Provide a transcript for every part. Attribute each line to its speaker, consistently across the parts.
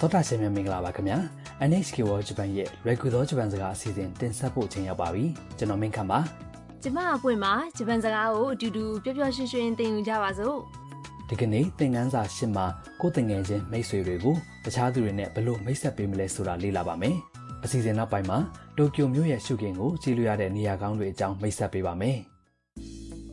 Speaker 1: သောတာရှင်များမင်္ဂလာပါခင်ဗျာ NHK World Japan ရဲ့ရေကူသောဂျပန်စကားအစီအစဉ်တင်ဆက်ဖို့အချိန်ရောက်ပါပြီကျွန်တော်မင်းခမ်းပါ
Speaker 2: ကျမအပွင့်မှာဂျပန်စကားကိုအတူတူပျော်ပျော်ရွှင်ရွှင်သင်ယူကြပါစို့
Speaker 1: ဒီကနေ့သင်ခန်းစာရှင်းမှာကိုယ်သင်ငယ်ချင်းမိတ်ဆွေတွေကိုတခြားသူတွေနဲ့ဘယ်လိုမိတ်ဆက်ပေးမလဲဆိုတာလေ့လာပါမယ်အစီအစဉ်နောက်ပိုင်းမှာတိုကျိုမြို့ရဲ့ရှုခင်းကိုကြည့်လို့ရတဲ့နေရာကောင်းတွေအကြောင်းမိတ်ဆက်ပေးပါမယ်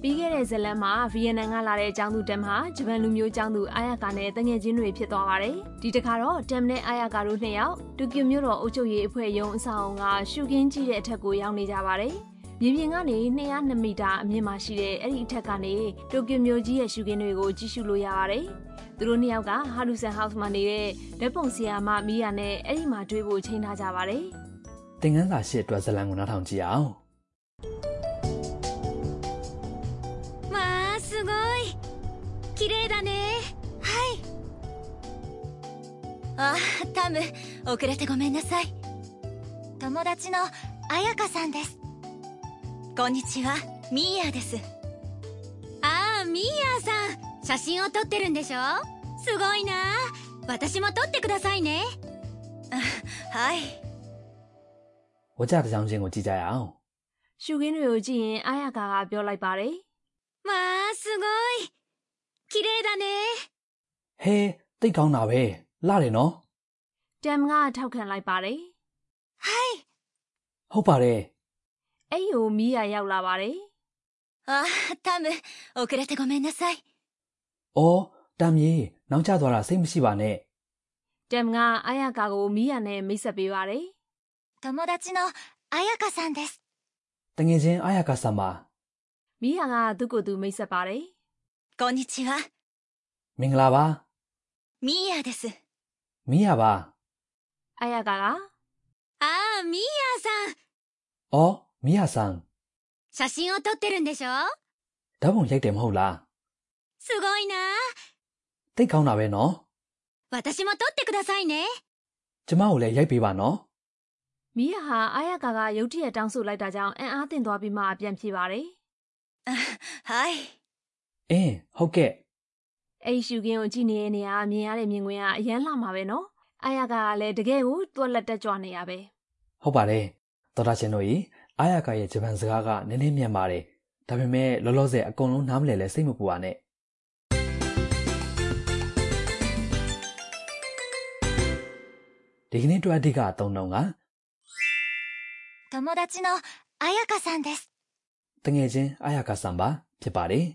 Speaker 2: ပြီးခဲ့တဲ့ဇတ်လန်မှာဗီယက်နမ်ကလာတဲ့အကြောင်းသူတမ်ဟာဂျပန်လူမျိုးအကြောင်းသူအာယာကာနဲ့တငယ်ချင်းတွေဖြစ်သွားပါတယ်ဒီတစ်ခါတော့တမ်နဲ့အာယာကာတို့နှစ်ယောက်တိုကျိုမြို့တော်အုပ်ချုပ်ရေးအဖွဲ့ရုံးအဆောင်ကရှုခင်းကြည့်တဲ့အထက်ကိုရောက်နေကြပါတယ်မြေပြင်ကနေ202မီတာအမြင့်မှာရှိတဲ့အဲ့ဒီအထက်ကနေတိုကျိုမြို့ကြီးရဲ့ရှုခင်းတွေကိုကြည့်ရှုလို့ရပါတယ်သူတို့နှစ်ယောက်ကဟာလူဆန်ဟောက်စ်မှာနေတဲ့လက်ပုံဆီယာမမီယာနဲ့အဲ့ဒီမှာတွေ့ဖို့ချိန်ထားကြပါတယ်
Speaker 1: သင်ခန်းစာရှင်းအတွက်ဇတ်လံကိုနားထောင်ကြည့်အောင်
Speaker 3: まあすごい綺麗だねはいあタム遅れてごめんなさい友達の彩香さんですこんにちはミーヤですああミーヤさん写真を撮ってるんでしょすごいな私も撮ってくださいねはい
Speaker 1: ဝါကြတစ်ကြောင်းချင်းကိုကြည့်ကြရအောင်
Speaker 2: ရှုခင်းတွေကိုကြည့်ရင်အာရကာကပြောလိုက်ပါတယ်
Speaker 3: まあすごい綺麗だね
Speaker 1: ဟဲတိတ်ကောင်းတာပဲလှတယ်နော်
Speaker 2: ။တမ်ကထောက်ခံလိုက်ပါတယ်
Speaker 3: はい
Speaker 1: ဟုတ်ပါတယ်
Speaker 2: ။အဲ့ယိုမီးရရောက်လာပါတယ်
Speaker 3: あタム遅れてごめんなさい
Speaker 1: အော်တမ်းကြီးနောက်ကျသွားတာစိတ်မရှိပါနဲ့
Speaker 2: ။တမ်ကအာရကာကိုမီးရနဲ့မိတ်ဆက်ပေးပါတယ်
Speaker 3: 友達の彩香さんです
Speaker 1: တငယ်ချင်းအာယာကာဆာမာ
Speaker 2: ။မီးရကသူ့ကိုယ်သူမိတ်ဆက်ပါတယ်
Speaker 3: こんにちは
Speaker 1: မင်္ဂလာပါ
Speaker 3: ミーヤです
Speaker 1: မီးရပါ
Speaker 2: ။အာရကာက
Speaker 3: ああミーヤさん
Speaker 1: အော်မီးရဆန်
Speaker 3: 写真を撮ってるんでしょ
Speaker 1: ဓာတ်ပုံရိုက်တယ်မဟုတ်လား
Speaker 3: すごいな
Speaker 1: တိတ်ကောင်းတာပဲနော်
Speaker 3: 私も撮ってくださいね
Speaker 1: ကျမကိုလည်းရိုက်ပေးပါနော်
Speaker 2: မီးရဟာအာရကာကရုတ်တရက်တောင်းဆိုလိုက်တာကြောင့်အံ့အားသင့်သွားပြီးမှပြန်ပြေးပါတယ်
Speaker 3: はい
Speaker 1: အင်းဟုတ်ကဲ့
Speaker 2: ။အဲ့ဒီရှုခင်းကိုကြည့်နေတဲ့နေရာမြင်ရတဲ့မြင်ကွင်းကအရန်လှမှာပဲနော်။အာရကာကလည်းတကယ်ကိုတွက်လက်တက်ကြွနေရပဲ
Speaker 1: ဟုတ်ပါတယ်ဒေါက်တာရှင်တို့ကြီးအာယာကာရဲ့ဂျပန်စကားကနည်းနည်းမြန်ပါတယ်ဒါပေမဲ့လောလောဆယ်အကုန်လုံးနားမလည်လဲစိတ်မပူပါနဲ့ဒီကနေ့အတွက်အဓိကအသုံးတော့က
Speaker 3: 友達の彩香さんです
Speaker 1: တငယ်ချင်းအာယာကာဆန်ပါဖြစ်ပါတယ်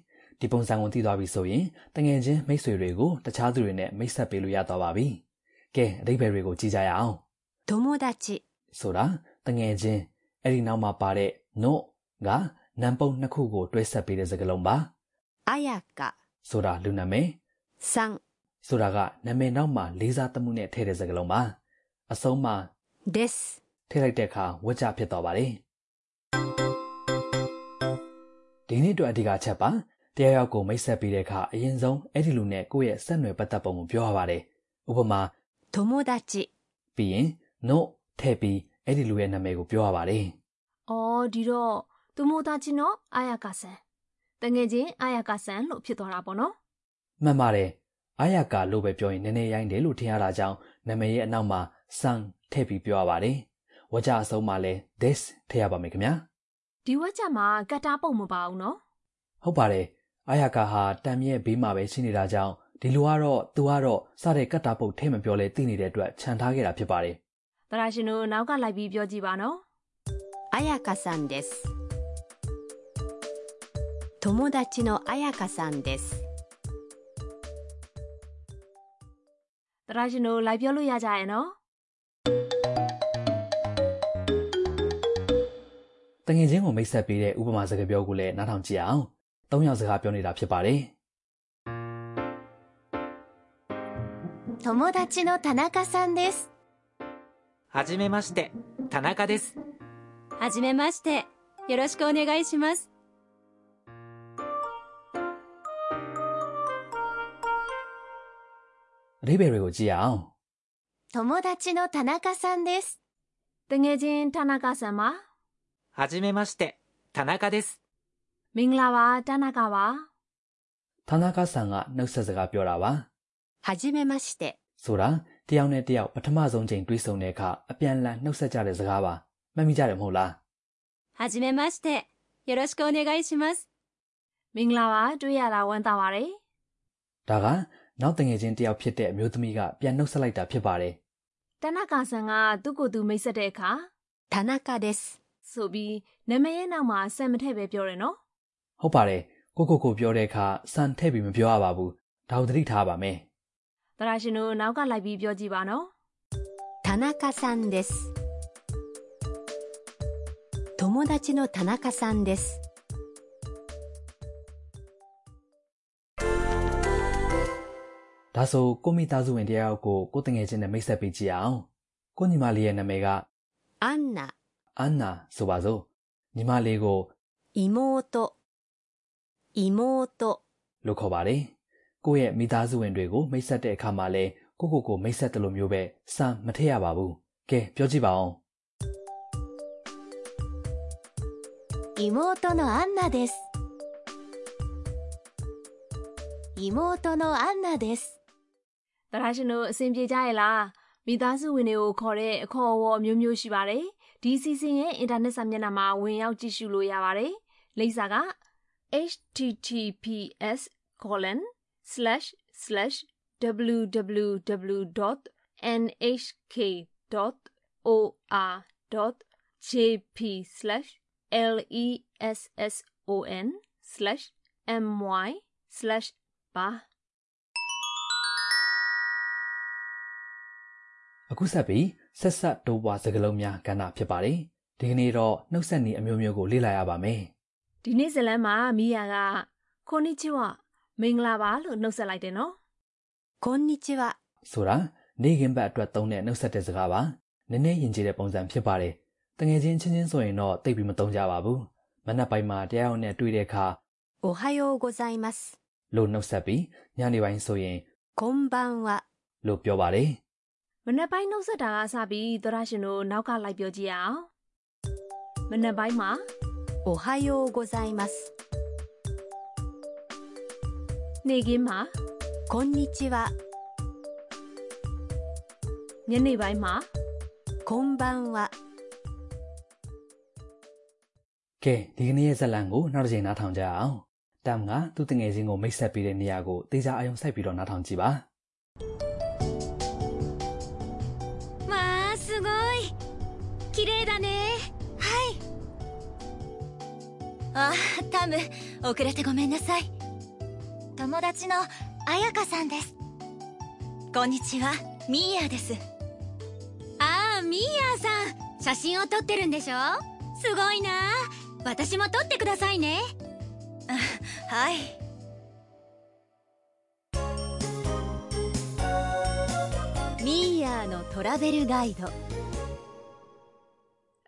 Speaker 1: ဒီပုံစံကိုသိသွားပြီဆိုရင်တငယ်ချင်းမိတ်ဆွေတွေကိုတခြားသူတွေနဲ့မိတ်ဆက်ပေးလို့ရသွားပါပြီကဲအဓိပ္ပာယ်တွေကိုကြည့်ကြရအောင်
Speaker 3: 友達
Speaker 1: ဆိုတာတငယ်ချင်းအဲ့ဒီနောက်မှာပါတဲ့ no ကနံပုံနှစ်ခုကိုတွဲဆက်ပေးတဲ့စကားလုံးပါ
Speaker 3: 彩香
Speaker 1: ဆိုတာလူနာမည်
Speaker 3: さん
Speaker 1: ဆိုတာကနာမည်နောက်မှာလေးစားသမှုနဲ့ထည့်တဲ့စကားလုံးပါအဆုံးမှာ
Speaker 3: です
Speaker 1: ထည့်လိုက်တဲ့အခါဝကြဖြစ်သွားပါတယ်ဒီနေ့အတွက်အဓိကအချက်ပါတရားရောက်ကိုမိတ်ဆက်ပေးတဲ့အခါအရင်ဆုံးအဲ့ဒီလူနဲ့ကိုယ့်ရဲ့ဆက်နွယ်ပတ်သက်ပုံကိုပြောရပါတယ်ဥပမာ
Speaker 3: 友達
Speaker 1: ပြီးရင် no ထည့်ပြီးအဲ့ဒီလူရဲ့နာမည်ကိုပြောရပါတယ်
Speaker 2: ။အော်ဒီတော့သူမိုသားချင်းတော့အာရကာဆန်။တငယ်ချင်းအာရကာဆန်လို့ဖြစ်သွားတာပေါ့နော်။
Speaker 1: မှန်ပါတယ်အာယာကာလို့ပဲပြောရင်နည်းနည်းရိုင်းတယ်လို့ထင်ရတာကြောင့်နာမည်ရဲ့အနောက်မှာ sun ထည့်ပြီးပြောရပါတယ်ဝါကျအဆုံးမှာလည်း this ထည့်ရပါမယ်ခင်ဗျာ
Speaker 2: ဒီဝက်ချက်မှာကတ်တာပုံမပါဘူးနော်
Speaker 1: ဟုတ်ပါတယ်အာယာကာဟာတံမြင့်ဘေးမှာပဲရှိနေတာကြောင့်ဒီလိုကတော့သူကတော့စတဲ့ကတ်တာပုတ်ထည့်မပြောလဲသိနေတဲ့အတွက်ခြံထားခဲ့တာဖြစ်ပါတယ်
Speaker 2: ။တရာရှင်တို့နောက်ကလိုက်ပြီးပြောကြည့်ပါနော်
Speaker 3: 彩香さんです友達の彩香さんです
Speaker 2: ။တရာရှင်တို့လိုက်ပြောလို့ရကြရဲ့နော်
Speaker 1: တငယ်ချင်းကိုမိတ်ဆက်ပေးတဲ့ဥပမာစကားပြောကိုလည်းနားထောင်ကြည့်အောင်သုံးယောက်စကားပြောနေတာဖြစ်ပါတယ်
Speaker 3: 友達の田中さんです
Speaker 4: はじめまして、田中です。
Speaker 3: はじめまして。よろしくお願いします。
Speaker 1: အဓိပ္ပာယ်တွေကိုကြည့်အောင်
Speaker 3: 友達の田中さんです。
Speaker 2: ။တငယ်ချင်းဌာနကဆန်ပါ
Speaker 4: はじめまして、田中です。
Speaker 2: မင်္ဂလာပါဌာနကပါ
Speaker 1: ဌာနကဆန်ကနှုတ်ဆက်စကားပြောတာပါ
Speaker 3: はじめまして。
Speaker 1: ဆိုတာတ တစ်ယောက်နဲ့တစ်ယောက်ပထမဆုံးချိန်တွေ့ဆုံတဲ့အခါအပြန်အလှန်နှုတ်ဆက်ကြတဲ့စကားပါမှတ်မိကြတယ်မဟုတ်လား
Speaker 3: はじめまして。よろしくお願いします。
Speaker 2: မင်္ဂလာပါတွေ့ရတာဝမ်းသာပါတယ်
Speaker 1: ဒါကနောက်တငယ်ချင်းတစ်ယောက်ဖြစ်တဲ့အမျိုးသမီးကပြန်နှုတ်ဆက်လိုက်တာဖြစ်ပါတယ်
Speaker 2: တနကာဆန်ကသူ့ကိုယ်သူမိတ်ဆက်တဲ့အခါ
Speaker 3: 田中です。
Speaker 2: ဆိုပြီးနာမည်ရဲ့နောက်မှာဆန်မထည့်ပဲပြောတယ်နော်
Speaker 1: ဟုတ်ပါတယ်ကိုကိုကိုပြောတဲ့အခါစံထည့်ပြီးမပြောရပါဘူးဒါကိုသတိထားပါမယ်
Speaker 2: သရရှင်တို့နောက်ကလိုက်ပြီးပြောကြည့်ပါနော်
Speaker 3: 田中さんです。友達の田中さんです。
Speaker 1: ဒါဆိုကိုမိသားစုဝင်တစ်ယောက်ကိုကိုတငယ်ချင်းနဲ့မိတ်ဆက်ပေးကြည့်အောင်ကိုညီမလေးရဲ့နာမည်က
Speaker 3: アンナ、
Speaker 1: အန်နာဆိုပါစို့ညီမလေးကို
Speaker 3: 妹、妹、
Speaker 1: လို့ခေါ်ပါတယ်။ကိုယ့်ရဲ့မိသားစုဝင်တွေကိုမိတ်ဆက်တဲ့အခါမှာလဲကိုကိုကိုမိတ်ဆက်တယ်လို့မျိုးပဲစံမထည့်ရပါဘူး။ကဲပြောကြည့်ပါအောင်
Speaker 3: 妹のアンナです。妹のアンナです。
Speaker 2: သရရှင်တို့အဆင်ပြေကြရဲ့လားမိသားစုဝင်တွေကိုခေါ်တဲ့အခေါ်အဝေါ်အမျိုးမျိုးရှိပါတယ်ဒီစီစဉ်ရဲ့အင်တာနက်စာမျက်နှာမှာဝင်ရောက်ကြည့်ရှုလို့ရပါတယ်လိပ်စာက https://www.nhk.or.jp/lesson/my/ba
Speaker 1: ။အခုဆက်ပြီးဆက်ဆက်တိုးပွားစကားလုံးများကဏ္ဍဖြစ်ပါတယ်။ဒီကနေ့တော့နှုတ်ဆက်နည်းအမျိုးမျိုးကိုလေ့လာရပါမယ်
Speaker 2: ဒီနေ့ဇတ်လန်းမှာမိယာကခိုနီချီဝမင်္ဂလာပါလို့နှုတ်ဆက်လိုက်တယ်နော်
Speaker 3: こんにちは。
Speaker 1: ။ဆိုတာနေခင်ဘက်အတွက်သုံးတဲ့နှုတ်ဆက်တဲ့စကားပါ။နည်းနည်းယဉ်ကျေးတဲ့ပုံစံဖြစ်ပါတယ်။တငယ်ချင်းချင်းချင်းဆိုရင်တော့တိတ်ပြီးမသုံးကြပါဘူး။မနက်ပိုင်းမှာတရားရုံနဲ့တွေ့တဲ့အခါ
Speaker 3: おはようございます。
Speaker 1: လို့နှုတ်ဆက်ပြီးညနေပိုင်းဆိုရင်
Speaker 3: こんばんは。
Speaker 1: လို့ပြောပါတယ်။
Speaker 2: မနက်ပိုင်းနှုတ်ဆက်တာကစပြီးသောရရှင်တို့နောက်ကလိုက်ပြောကြည့်ရအောင်မနက်ပိုင်းမှာ
Speaker 3: おはようございます。
Speaker 2: နေခင်းမှာ
Speaker 3: こんにちは。
Speaker 2: ညနေပိုင်းမှာ
Speaker 3: こんばんは。
Speaker 1: ကဲဒီကနေ့ရဲ့ဇာတ်လမ်းကိုနောက်တစ်ချိန်နားထောင်ကြအောင်တမ်ကသူ့တငယ်ချင်းကိုမိတ်ဆက်ပေးတဲ့နေရာကိုတေချာအယုံစိုက်ပြီးတော့နားထောင်ကြည့်ပါ
Speaker 3: わあ、すごい。綺麗だね。はい。あ、タム、遅れてごめんなさい。友達の彩香さんです。こんにちは、ミーヤです。ああ、ミーヤさん。写真を撮ってるんでしょすごいな。私も撮ってくださいね。はい。ミーヤのトラベルガイド。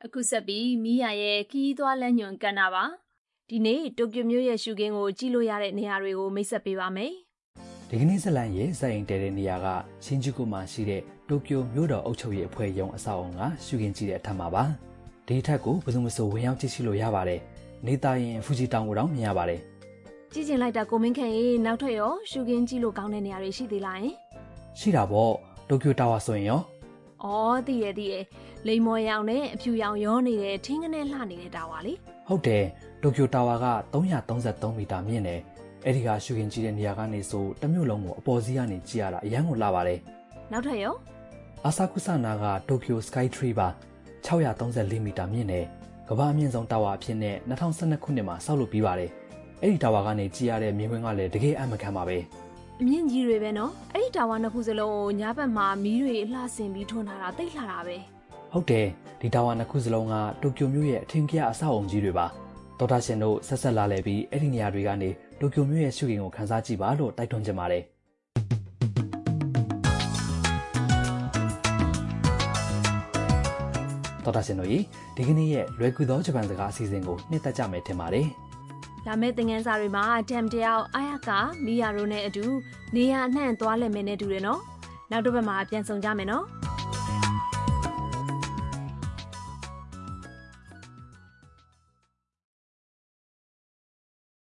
Speaker 2: အခုဆက်ပြီးမိယာရဲ့ခီးသွွားလမ်းညွန်ကဏ္ဍပါဒီနေ့တိုကျိုမြို့ရဲ့ရှုခင်းကိုကြည့်လို့ရတဲ့နေရာတွေကိုမိတ်ဆက်ပေးပါမယ်
Speaker 1: ဒီကနေ့ဇာတ်လမ်းရဲ့ဇာတ်အိမ်တဲတဲ့နေရာကရှင်ဂျူကူမှာရှိတဲ့တိုကျိုမြို့တော်အုပ်ချုပ်ရေးအဖွဲ့ရုံးအဆောက်အအုံကရှုခင်းကြည့်တဲ့အထက်မှာပါဒီအထက်ကိုဘယ်သူမှမဆိုဝင်ရောက်ကြည့်ရှုလို့ရပါတယ်နေသားရင်ဖူဂျီတောင်ကိုတောင်မြင်ရပါတယ်
Speaker 2: ကြည့်ချင်လိုက်တာကိုမင်းခန့်ရေနောက်ထပ်ရောရှုခင်းကြည့်လို့ကောင်းတဲ့နေရာတွေရှိသေးလားယင်
Speaker 1: ရှိတာပေါ့တိုကျိုတာဝါဆိုရင်ရော
Speaker 2: ။အော်သိရဲ့သိရဲ့လိမ္မော်ရောင်နဲ့အဖြူရောင်ရောနေတဲ့ထင်းကနေလှနေတဲ့တာဝါလေ
Speaker 1: ဟုတ်တယ်တိုကျိုတာဝါက333မီတာမြင့်တယ်အဲ့ဒီကရှုခင်းကြည့်တဲ့နေရာကနေဆိုတစ်မြို့လုံးကိုအပေါ်စီးကနေကြည့်ရတာအရန်ကိုလှပါတယ်
Speaker 2: ။နောက်ထပ်ရော
Speaker 1: အာဆာကုဆာနာကတိုကျိုစကိုက်ထရီပါ634မီတာမြင့်နဲ့ကမ္ဘာအမြင့်ဆုံးတာဝါအဖြစ်နဲ့2012ခုနှစ်မှာဆောက်လုပ်ပြီးပါတယ်။အဲ့ဒီတာဝါကနေကြည့်ရတဲ့မြင်ကွင်းကလည်းတကယ်အမှန်ကန်ပါပဲ
Speaker 2: အမြင့်ကြီးတွေပဲနော်။အဲ့ဒီတာဝါနှစ်ခုစလုံးကိုညာဘက်မှာမီးတွေလှဆင်ပြီးထွန်းထားတာသိလှတာပဲ
Speaker 1: ။ဟုတ်တယ်ဒီတာဝါနှစ်ခုစလုံးကတိုကျိုမြို့ရဲ့အထင်ကြီးအဆောက်အုံကြီးတွေပါ။ဒေါက်တာရှင်တို့ဆက်ဆက်လာလည်ပြီးအဲ့ဒီနေရာတွေကနေတိုကျိုမြို့ရဲ့ရှုခင်းကိုခန်းစားကြည့်ပါလို့တိုက်တွန်းချင်ပါတယ်။ ။ဒေါက်တာရှင်တို့ရေဒီကနေ့ရဲ့လွယ်ကူသောဂျပန်စကားအစီအစဉ်ကိုနှက်တက်ကြမယ်ထင်ပါတယ်
Speaker 2: ။လာမယ့်သင်ငန်းစာတွေမှာအတမ်တယောက်အာရကာမီယာရိုနဲ့အတူနေရာအနှံ့သွားလည်မယ်နဲ့တူတယ်နော်။နောက်တစ်ပတ်မှာပြန်ဆောင်ကြမယ်နော်။